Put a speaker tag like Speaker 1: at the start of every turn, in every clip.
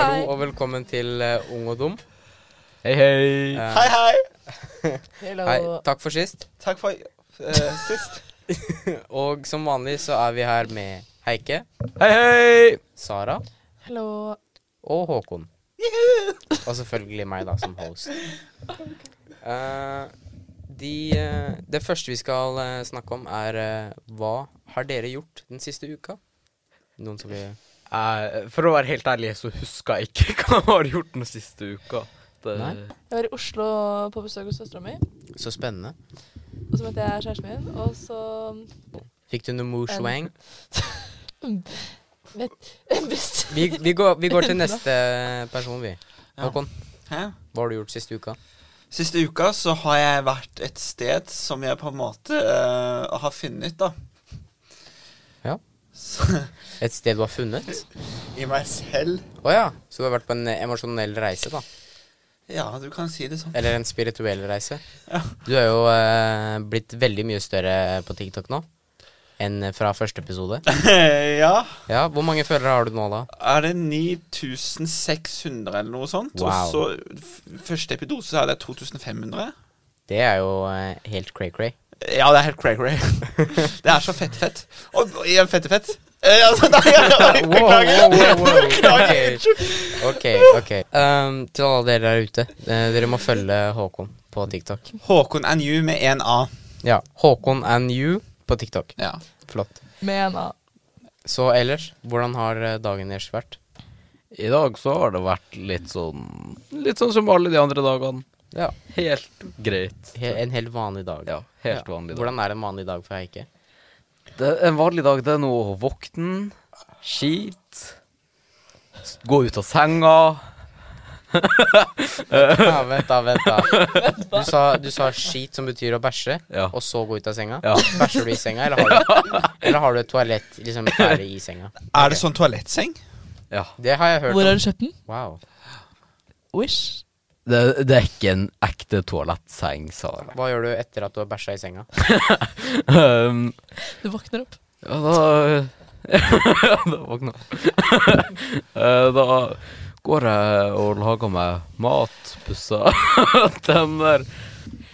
Speaker 1: og velkommen til eh, Ung og dum.
Speaker 2: Hei, hei.
Speaker 1: Eh,
Speaker 3: Hei, hei!
Speaker 1: hei,
Speaker 4: Hello.
Speaker 1: takk for sist.
Speaker 3: Takk for eh, sist.
Speaker 1: Og som vanlig så er vi her med Heike,
Speaker 2: Hei, hei.
Speaker 1: Sara
Speaker 4: Hello.
Speaker 1: og Håkon. Og selvfølgelig meg, da, som host. Eh, de, eh, det første vi skal eh, snakke om, er eh, hva har dere gjort den siste uka? Noen som vil
Speaker 2: Eh, for å være helt ærlig, så husker jeg ikke hva jeg har gjort den siste uka. Det,
Speaker 1: Nei.
Speaker 4: Jeg var i Oslo på besøk hos søstera mi,
Speaker 1: Så spennende.
Speaker 4: og så møtte jeg kjæresten min, og så
Speaker 1: Fikk du noe moshwang?
Speaker 4: vet, visst.
Speaker 1: Vi, vi, går, vi går til neste person, vi.
Speaker 3: Ja.
Speaker 1: Håkon,
Speaker 3: Hæ?
Speaker 1: hva har du gjort siste uka?
Speaker 3: Siste uka så har jeg vært et sted som jeg på en måte eh, har funnet, da.
Speaker 1: Ja.
Speaker 3: Så,
Speaker 1: Et sted du har funnet?
Speaker 3: I meg selv.
Speaker 1: Å ja. Så du har vært på en eh, emosjonell reise, da?
Speaker 3: Ja, du kan si det sånn.
Speaker 1: Eller en spirituell reise?
Speaker 3: Ja.
Speaker 1: Du er jo eh, blitt veldig mye større på TikTok nå enn fra første episode.
Speaker 3: ja.
Speaker 1: Ja, Hvor mange følgere har du nå, da?
Speaker 3: Er det 9600 eller noe sånt?
Speaker 1: Wow.
Speaker 3: Og så f- første epidose så er det 2500.
Speaker 1: Det er jo eh, helt cray-cray.
Speaker 3: Ja, det er helt cray-cray. det er så fett-fett. Og igjen fette-fett. Eh, altså, nei, jeg-
Speaker 1: Wow, wow,
Speaker 3: beklager.
Speaker 1: wow, wow.
Speaker 3: Beklager.
Speaker 1: Ok, ok. Um, til alle dere der ute, eh, dere må følge Håkon på TikTok.
Speaker 3: Håkon and you med en A.
Speaker 1: Ja, Håkon and you på TikTok.
Speaker 3: Ja.
Speaker 1: Flott.
Speaker 4: Med en A.
Speaker 1: Så ellers, hvordan har eh, dagen deres vært?
Speaker 2: I dag så har det vært litt sånn Litt sånn som alle de andre dagene.
Speaker 1: Ja,
Speaker 2: Helt greit.
Speaker 1: he En helt vanlig dag.
Speaker 2: Ja, helt vanlig dag.
Speaker 1: Hvordan er en vanlig dag for Heike?
Speaker 2: Det, en vanlig dag, det er nå å våkne, skit, s- gå ut av senga.
Speaker 1: Ja, vent da, vent da. Du sa, du sa skit, som betyr å bæsje,
Speaker 2: Ja.
Speaker 1: og så gå ut av senga.
Speaker 2: Ja.
Speaker 1: Bæsjer du i senga, eller har du, eller har du et toalett liksom ferdig i senga?
Speaker 3: Er det sånn toalettseng?
Speaker 2: Ja.
Speaker 1: Det har jeg hørt
Speaker 4: Hvor
Speaker 1: om.
Speaker 4: har du kjøpt den?
Speaker 1: Wow.
Speaker 4: Wish.
Speaker 2: Det, det er ikke en ekte toalettseng, Sara.
Speaker 1: Hva gjør du etter at du har bæsja i senga?
Speaker 2: Um,
Speaker 4: Du våkner opp.
Speaker 2: Ja, da Da våkna jeg. Eh, Da går jeg og lager meg mat, pusser tenner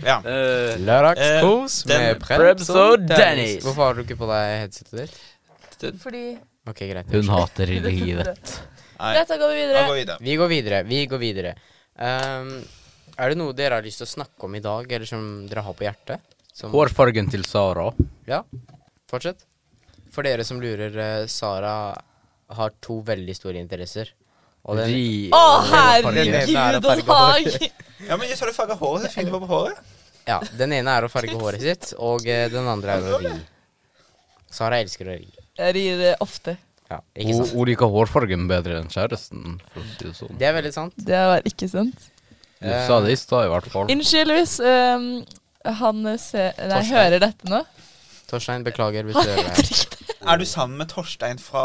Speaker 3: Ja.
Speaker 2: eh,
Speaker 1: Lørdagskos
Speaker 3: Eh, den-
Speaker 1: med
Speaker 2: Prebz
Speaker 1: Prebz
Speaker 2: og
Speaker 1: og Dennis.
Speaker 2: Dennis.
Speaker 1: Hvorfor har du ikke på deg headsetet ditt?
Speaker 4: Fordi
Speaker 1: Ok, greit.
Speaker 2: Hun hater livet.
Speaker 3: Nei,
Speaker 4: Greit, da går vi
Speaker 3: da
Speaker 4: videre.
Speaker 3: går vi videre.
Speaker 1: Vi går videre. Vi går videre. Ehm, er det noe dere har lyst til å snakke om i dag, eller som dere har på hjertet? Som-
Speaker 2: Hårfargen til Sara.
Speaker 1: Ja, fortsett. For dere som lurer, eh, Sara har to veldig store interesser. Og den,
Speaker 2: Ri
Speaker 4: Å,
Speaker 2: og
Speaker 1: Den
Speaker 2: fargen.
Speaker 1: ene er
Speaker 4: herregud
Speaker 1: å farge
Speaker 4: og dag!
Speaker 3: Ja, men så har du farga håret. Det finner på håret.
Speaker 1: ja, den ene er å farge håret sitt, og eh, den andre er å ri. Sara elsker å ri.
Speaker 4: Jeg rir eh, ofte.
Speaker 1: Ja, Oh. ikke
Speaker 2: Hun
Speaker 1: sant?
Speaker 2: hun liker hårfargen bedre enn kjæresten, for å si det sånn.
Speaker 1: Det er veldig sant.
Speaker 4: Det var ikke sant.
Speaker 2: Du sa det i stad, i hvert fall.
Speaker 4: Unnskyld hvis ehm, han ser Nei,
Speaker 1: Torstein.
Speaker 4: hører dette nå.
Speaker 1: Torstein, beklager hvis
Speaker 4: Han
Speaker 1: du hører det.
Speaker 4: heter
Speaker 1: her.
Speaker 4: ikke
Speaker 3: Er du sammen med Torstein fra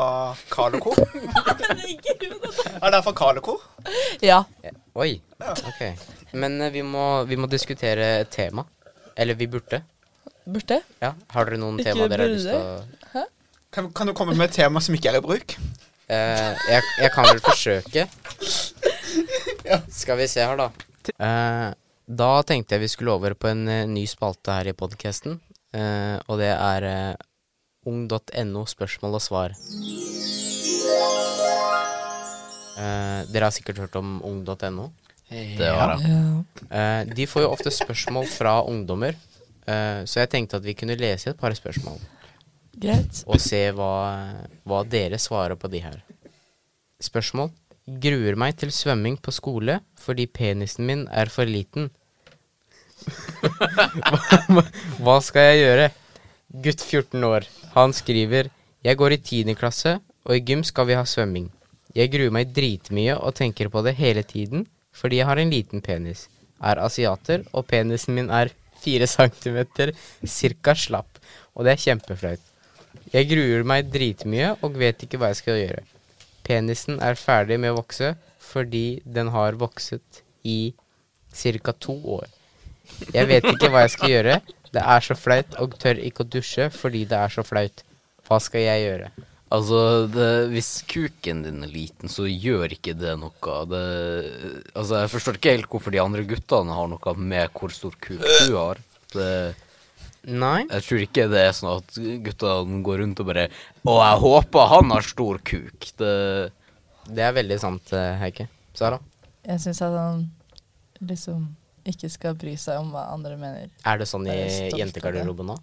Speaker 3: Carl Co?
Speaker 4: det.
Speaker 3: Er det fra Carl Co?
Speaker 4: Ja.
Speaker 1: Oi. Ok. Men eh, vi må, vi må diskutere et tema. Eller vi burde.
Speaker 4: Burde?
Speaker 1: Ja. Har dere noen
Speaker 4: Ikke
Speaker 1: tema dere har lyst til å
Speaker 4: burde.
Speaker 3: Kan, kan du komme med et tema som ikke er i bruk?
Speaker 1: Eh, jeg, jeg kan vel forsøke. Skal vi se her, da. Eh, da tenkte jeg vi skulle over på en eh, ny spalte her i podkasten. og det er eh, ung.no spørsmål og svar. Eh, dere har sikkert hørt om ung.no.
Speaker 2: Det har jeg.
Speaker 1: Eh, de får jo ofte spørsmål fra ungdommer, eh, så jeg tenkte at vi kunne lese et par spørsmål
Speaker 4: Greit.
Speaker 1: og se hva, hva dere svarer på de her. Spørsmål. Gruer meg til svømming på skole fordi penisen min er for liten. hva, hva skal jeg gjøre? Gutt 14 år. Han skriver Jeg går i 10. klasse, og i gym skal vi ha svømming. Jeg gruer meg dritmye og tenker på det hele tiden fordi jeg har en liten penis. Er asiater, og penisen min er 4 cm cirka slapp. Og det er kjempeflaut. Jeg gruer meg dritmye og vet ikke hva jeg skal gjøre. Penisen er ferdig med å vokse fordi den har vokset i ca. to år. Jeg vet ikke hva jeg skal gjøre. Det er så flaut og tør ikke å dusje fordi det er så flaut. Hva skal jeg gjøre?
Speaker 2: Altså, det, hvis kuken din er liten, så gjør ikke det noe. Det, altså, jeg forstår ikke helt hvorfor de andre guttene har noe med hvor stor kuk
Speaker 3: Eh.
Speaker 2: du har. Det,
Speaker 1: Nei.
Speaker 2: jeg tror ikke det er sånn at guttene går rundt og bare Å, jeg håper han har stor kuk. Det,
Speaker 1: Det er veldig sant, eh, Heike. Sara,
Speaker 4: Jeg syns at han liksom ikke skal bry seg om hva andre mener.
Speaker 1: er det sånn i
Speaker 4: Jeg er stolt av det.
Speaker 1: jentegarderoben nå?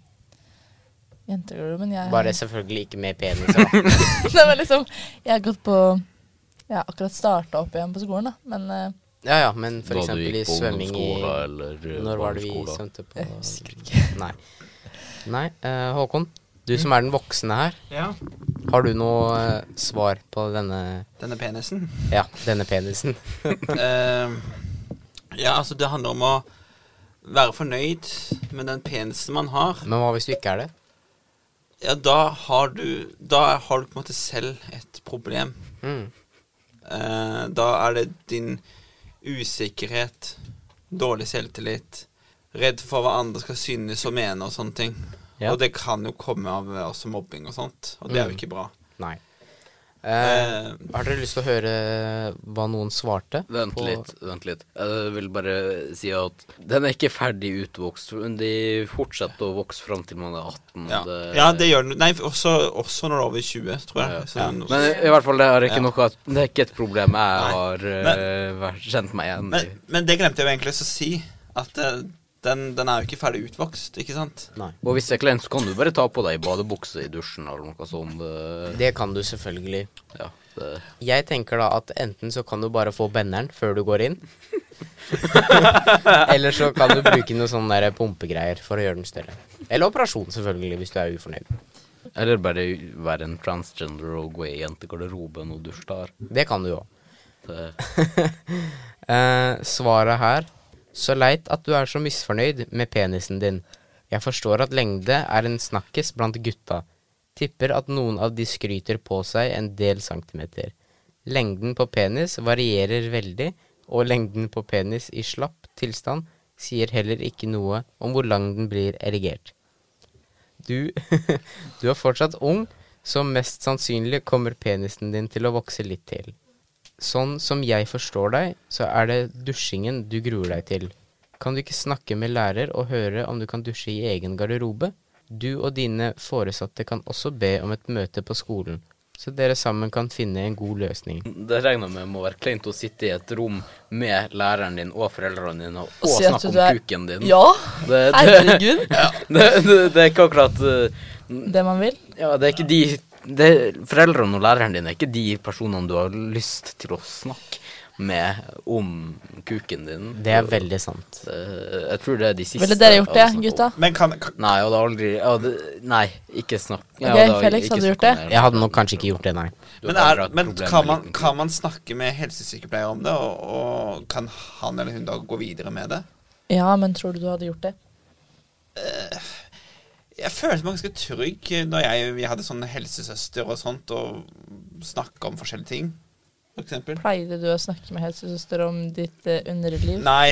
Speaker 4: Jentegarderoben, jeg
Speaker 1: Bare selvfølgelig ikke med peniser. da.
Speaker 4: Det var liksom Jeg har gått på Jeg har akkurat starta opp igjen på skolen, da. Men eh,
Speaker 1: Ja ja, men for
Speaker 2: da du
Speaker 1: eksempel i
Speaker 2: gikk på
Speaker 1: svømming i
Speaker 2: ungdomsskolen eller eh,
Speaker 1: Når var det vi
Speaker 2: barneskolen.
Speaker 1: svømte på
Speaker 4: jeg husker ikke.
Speaker 1: Nei. Nei, eh, Håkon. Du som er den voksne her,
Speaker 3: Ja.
Speaker 1: har du noe eh, svar på denne
Speaker 3: Denne penisen.
Speaker 1: Ja, denne penisen?
Speaker 3: Eh, ja, altså, det handler om å være fornøyd med den penisen man har.
Speaker 1: Men hva hvis du ikke er det?
Speaker 3: Ja, da har du Da har du på en måte selv et problem.
Speaker 1: Mm.
Speaker 3: Eh, da er det din usikkerhet, dårlig selvtillit, redd for hva andre skal synes og mene og sånne ting.
Speaker 1: Ja.
Speaker 3: Og det kan jo komme av eh, også mobbing og sånt, og det
Speaker 1: Mm.
Speaker 3: er jo ikke bra.
Speaker 1: Nei. Eh,
Speaker 3: Eh,
Speaker 1: har dere lyst til å høre hva noen svarte?
Speaker 2: Vent
Speaker 1: på-
Speaker 2: litt, vent litt. Jeg vil bare si at den er ikke ferdig utvokst. men De fortsetter å vokse fram til man er 18.
Speaker 3: ja.
Speaker 2: Det,
Speaker 3: ja, det gjør den. Nei, også, også når du er over 20, tror jeg. Så
Speaker 2: Ja.
Speaker 3: den-
Speaker 2: Men i hvert fall, det er ikke
Speaker 3: Ja.
Speaker 2: noe Det er ikke et problem jeg
Speaker 3: Nei.
Speaker 2: har eh, vært, kjent meg igjen i.
Speaker 3: men, men det glemte jeg jo egentlig å si, at eh, den, den er jo ikke ferdig utvokst, ikke sant?
Speaker 1: Nei.
Speaker 2: Og hvis det er kleint, så kan du bare ta på deg badebukse i dusjen eller noe sånt. Det,
Speaker 1: Det kan du selvfølgelig.
Speaker 2: ja, det.
Speaker 1: Jeg tenker da at enten så kan du bare få benderen før du går inn. Eller så kan du bruke noen sånne der pumpegreier for å gjøre den større. Eller operasjon, selvfølgelig, hvis du er ufornøyd.
Speaker 2: Eller bare være en transgender og gå i jentegarderoben og dusje der.
Speaker 1: Det kan du jo.
Speaker 2: Det,
Speaker 1: Eh, svaret her Så leit at du er så misfornøyd med penisen din. Jeg forstår at lengde er en snakkes blant gutta. Tipper at noen av de skryter på seg en del centimeter. Lengden på penis varierer veldig, og lengden på penis i slapp tilstand sier heller ikke noe om hvor lang den blir erigert. Du, du er fortsatt ung, så mest sannsynlig kommer penisen din til å vokse litt til. Sånn som jeg forstår deg, så er det dusjingen du gruer deg til. Kan du ikke snakke med lærer og høre om du kan dusje i egen garderobe? Du og dine foresatte kan også be om et møte på skolen, så dere sammen kan finne en god løsning.
Speaker 2: det regner jeg med må være kleint å sitte i et rom med læreren din og foreldrene dine og,
Speaker 4: Og si at
Speaker 2: snakke om
Speaker 4: du er-
Speaker 2: kuken din.
Speaker 4: Ja!
Speaker 2: Det, det,
Speaker 4: Herregud.
Speaker 2: det, det, det er ikke akkurat eh,
Speaker 4: Det man vil.
Speaker 2: Ja, det er ikke de det, Foreldrene og læreren din er ikke de personene du har lyst til å snakke med om kuken din.
Speaker 1: Det er veldig sant.
Speaker 2: Eh, Jeg tror det er de siste
Speaker 4: Ville dere
Speaker 2: jeg
Speaker 4: gjort det,
Speaker 2: hadde snakket
Speaker 4: gutta?
Speaker 2: om.
Speaker 3: Men kan, kan
Speaker 2: Nei, jeg hadde aldri jeg hadde, Nei, ikke snakk. jeg
Speaker 4: Ok,
Speaker 2: hadde
Speaker 4: Felix,
Speaker 2: ikke
Speaker 4: hadde du gjort
Speaker 2: snakket
Speaker 4: det?
Speaker 2: med
Speaker 1: Jeg hadde nok kanskje ikke gjort det, nei.
Speaker 2: Du
Speaker 3: Men,
Speaker 2: hadde aldri
Speaker 3: er,
Speaker 2: hatt
Speaker 3: men
Speaker 2: problemer
Speaker 3: kan,
Speaker 2: med
Speaker 3: man,
Speaker 2: liten kuk.
Speaker 3: kan man snakke med helsesykepleier om det, og, og kan han eller hun da gå videre med det?
Speaker 4: Ja, men tror du du hadde gjort det?
Speaker 3: Jeg følte meg ganske trygg da jeg, vi hadde sånn helsesøster og sånt, og snakka om forskjellige ting, for eksempel.
Speaker 4: Pleide du å snakke med helsesøster om ditt eh, underliv?
Speaker 3: Nei,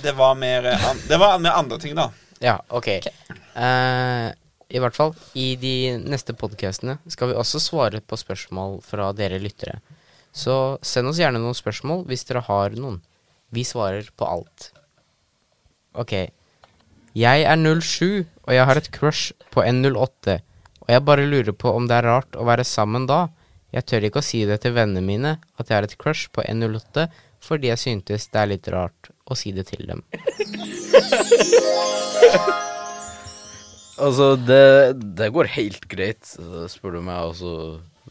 Speaker 3: det var mer eh, an- Det var mer andre ting, da.
Speaker 1: Ja, ok. Eh, I hvert fall, i de neste podkastene skal vi også svare på spørsmål fra dere lyttere. Så send oss gjerne noen spørsmål hvis dere har noen. Vi svarer på alt. Ok. Jeg er 07, og jeg har et crush på en 08. Og jeg bare lurer på om det er rart å være sammen da. Jeg tør ikke å si det til vennene mine at jeg har et crush på en 08, fordi jeg syntes det er litt rart å si det til dem.
Speaker 2: Altså, det, det går helt greit, eh, spør du meg. Altså,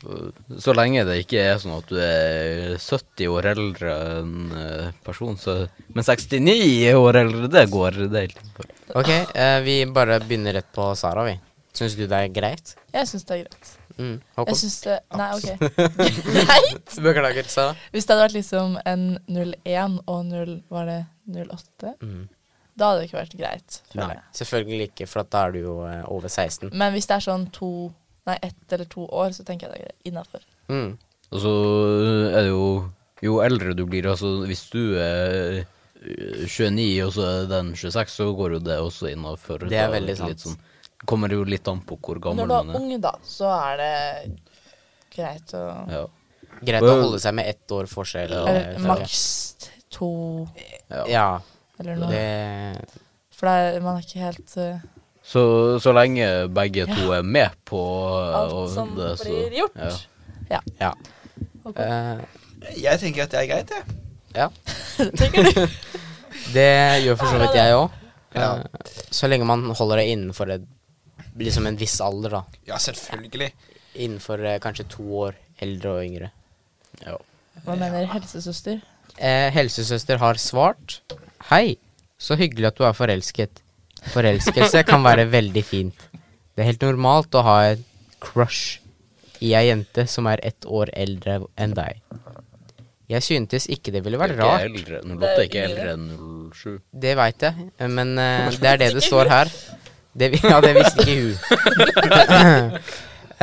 Speaker 2: Eh, så lenge det ikke er sånn at du er 70 år eldre enn eh, person, så Men 69 år eldre, det går. Det er helt innenfor.
Speaker 1: Ok, eh, vi bare begynner rett på Sara, vi. Syns du det er greit?
Speaker 4: Jeg syns det er greit.
Speaker 1: Mm.
Speaker 4: Jeg
Speaker 1: Håkon?
Speaker 4: syns det Nei, OK. Greit!
Speaker 1: Beklager, Sara.
Speaker 4: Hvis det hadde vært liksom en 01 og 0 Var det 08?
Speaker 1: Mm.
Speaker 4: Da hadde det ikke vært greit. føler
Speaker 1: Nei,
Speaker 4: jeg.
Speaker 1: selvfølgelig ikke, for at da er du jo eh, over 16.
Speaker 4: Men hvis det er sånn to Nei, ett eller to år, så tenker jeg det er innafor.
Speaker 1: Mm.
Speaker 2: Og så øh, er det jo Jo eldre du blir, altså hvis du er eh, 29 og så er den 26, så går jo det også innafor.
Speaker 1: Det er veldig sant.
Speaker 2: Sånn, kommer jo litt an på hvor gammel
Speaker 4: Når du er
Speaker 2: man er.
Speaker 4: ung, da, så er det greit å
Speaker 2: Ja.
Speaker 1: Greit å holde seg med ett år forskjell.
Speaker 4: Eller
Speaker 1: eh, fra-
Speaker 4: maks to
Speaker 2: Ja.
Speaker 1: Ja,
Speaker 4: eller noe.
Speaker 1: det
Speaker 4: For det er, man er ikke helt eh,
Speaker 2: Så, så lenge begge to er med på eh,
Speaker 4: alt
Speaker 2: og
Speaker 4: som
Speaker 2: det, så-
Speaker 4: blir gjort.
Speaker 2: Ja.
Speaker 1: Ja.
Speaker 4: Ok.
Speaker 1: Eh,
Speaker 3: Jeg tenker at det er greit, jeg.
Speaker 1: ja.
Speaker 4: Tenker du?
Speaker 1: Det gjør for så vidt jeg òg.
Speaker 3: Ja.
Speaker 1: Så lenge man holder det innenfor et, liksom en viss alder, da.
Speaker 3: Ja, selvfølgelig.
Speaker 1: Innenfor eh, kanskje to år eldre og yngre.
Speaker 2: Ja.
Speaker 4: Hva mener helsesøster?
Speaker 1: Eh, helsesøster har svart. Hei, så hyggelig at du er forelsket. Forelskelse kan være veldig fint. Det er helt normalt å ha et crush i ei jente som er ett år eldre enn deg. Jeg syntes ikke det ville
Speaker 2: Det er
Speaker 1: vært
Speaker 2: ikke
Speaker 1: rart.
Speaker 2: eldre. Nå
Speaker 4: Det
Speaker 2: låter
Speaker 4: er
Speaker 2: jeg ikke eldre
Speaker 4: yngre.
Speaker 2: enn 07.
Speaker 1: Det veit jeg, men eh, det er det det står her. Det, vi- ja, det visste ikke hun.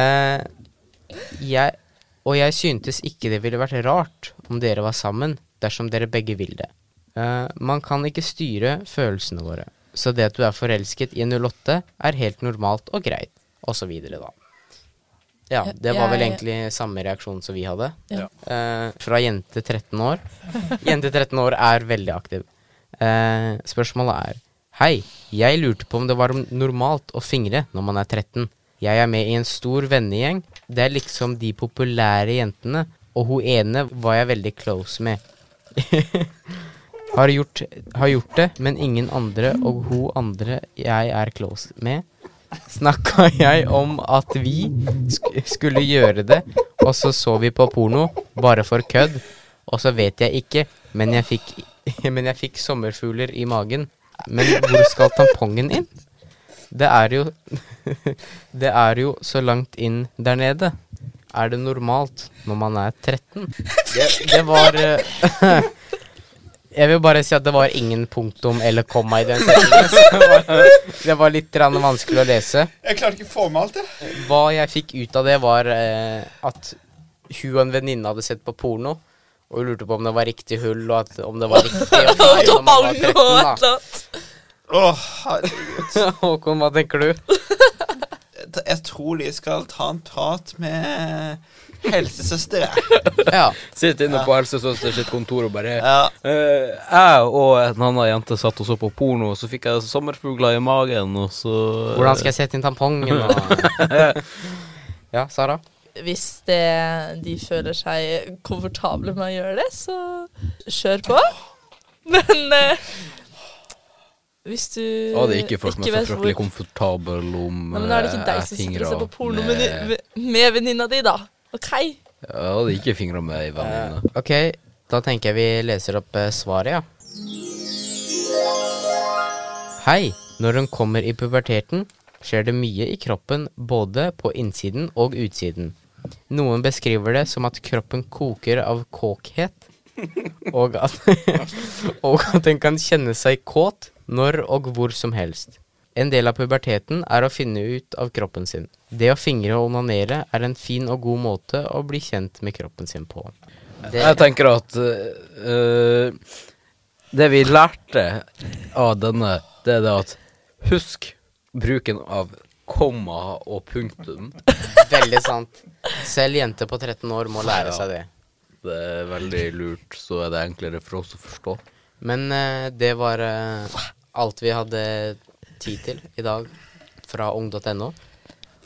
Speaker 1: Eh, jeg, og jeg syntes ikke det ville vært rart om dere var sammen, dersom dere begge vil det. Eh, man kan ikke styre følelsene våre, så det at du er forelsket i en 08, er helt normalt og greit, og så videre, da. Ja, det var vel
Speaker 4: Jeg-
Speaker 1: egentlig samme reaksjon som vi hadde.
Speaker 4: Ja.
Speaker 1: Eh, fra jente 13 år. Jente 13 år er veldig aktiv. Eh, spørsmålet er Hei, jeg lurte på om det var normalt å fingre når man er 13. Jeg er med i en stor vennegjeng. Det er liksom de populære jentene, og hun ene var jeg veldig close med. har, gjort, har gjort det, men ingen andre, og hun andre jeg er close med, snakka jeg om at vi sk skulle gjøre det, og så så vi på porno, bare for kødd. Og så vet jeg ikke, men jeg fikk, men jeg fikk sommerfugler i magen. Men hvor skal tampongen inn? Det er jo Det er jo så langt inn der nede. Er det normalt når man er 13? Det, det var eh, Jeg vil bare si at det var ingen punktum eller komma i den setningen. så det var- Det var litt grann vanskelig å lese.
Speaker 3: Jeg klarte ikke å få med alt, jeg.
Speaker 1: Hva jeg fikk ut av det, var eh, at hun og en venninne hadde sett på porno. Og hun lurte på om det var riktig hull, og at, om det var riktig å feire når man var 13.
Speaker 3: Åh, herregud.
Speaker 1: da. Håkon, hva tenker du?
Speaker 3: Jeg- jeg tror de skal ta en prat med helsesøster, jeg.
Speaker 1: Ja.
Speaker 2: Sitter inne på helsesøster sitt kontor og bare
Speaker 3: Ja.
Speaker 2: Eh, jeg og en annen jente satt og så på porno, og så fikk jeg sommerfugler i magen, og så
Speaker 1: Hvordan skal jeg sette inn tampongen? Og... Ja, Sara?
Speaker 4: Hvis det, de føler seg komfortable med å gjøre det, så kjør på. Men eh, hvis du
Speaker 2: Jeg hadde ikke følt meg så
Speaker 4: vet hvor-
Speaker 2: fryktelig komfortabel om
Speaker 4: Nei, men Nå er det ikke
Speaker 2: eh,
Speaker 4: deg som sitter og ser
Speaker 2: fingra
Speaker 4: på porno med,
Speaker 2: med-
Speaker 4: med, med venninna di, da. OK?
Speaker 2: Jeg hadde ikke fingra med ei venninne.
Speaker 1: Ok, da tenker jeg vi leser opp eh, svaret, ja. Hei! Når hun kommer i puberteten, skjer det mye i kroppen, både på innsiden og utsiden. Noen beskriver det som at kroppen koker av kåkhet, og at, og at den kan kjenne seg kåt når og hvor som helst. En del av puberteten er å finne ut av kroppen sin. Det å fingre og onanere er en fin og god måte å bli kjent med kroppen sin på. Det-
Speaker 2: Jeg tenker at eh, eh, det vi lærte av denne, det er det at husk bruken av komma og punktum.
Speaker 1: Veldig sant. Selv jenter på 13 år må lære seg det.
Speaker 2: Det er veldig lurt, så er det enklere for oss å forstå.
Speaker 1: Men eh, det var eh, alt vi hadde tid til i dag fra ung.no.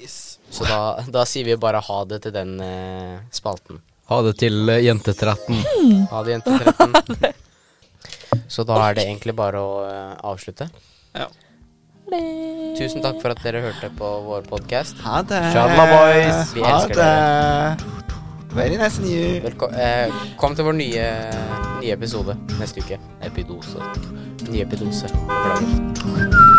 Speaker 3: Yes.
Speaker 1: Så da, da sier vi bare ha det til den eh, spalten.
Speaker 2: Ha det til eh, jente 13.
Speaker 1: Ha det, jente 13. Så da er det egentlig bare å eh, avslutte.
Speaker 3: Ja.
Speaker 1: Tusen takk for at dere hørte på vår podkast.
Speaker 3: Ha det.
Speaker 2: Shalom, boys.
Speaker 1: Vi
Speaker 3: Ha
Speaker 1: elsker
Speaker 3: det. Very nice and you.
Speaker 1: Velko eh, kom til vår nye, nye episode neste uke.
Speaker 2: Epidose.
Speaker 1: Ny epidose. Beklager.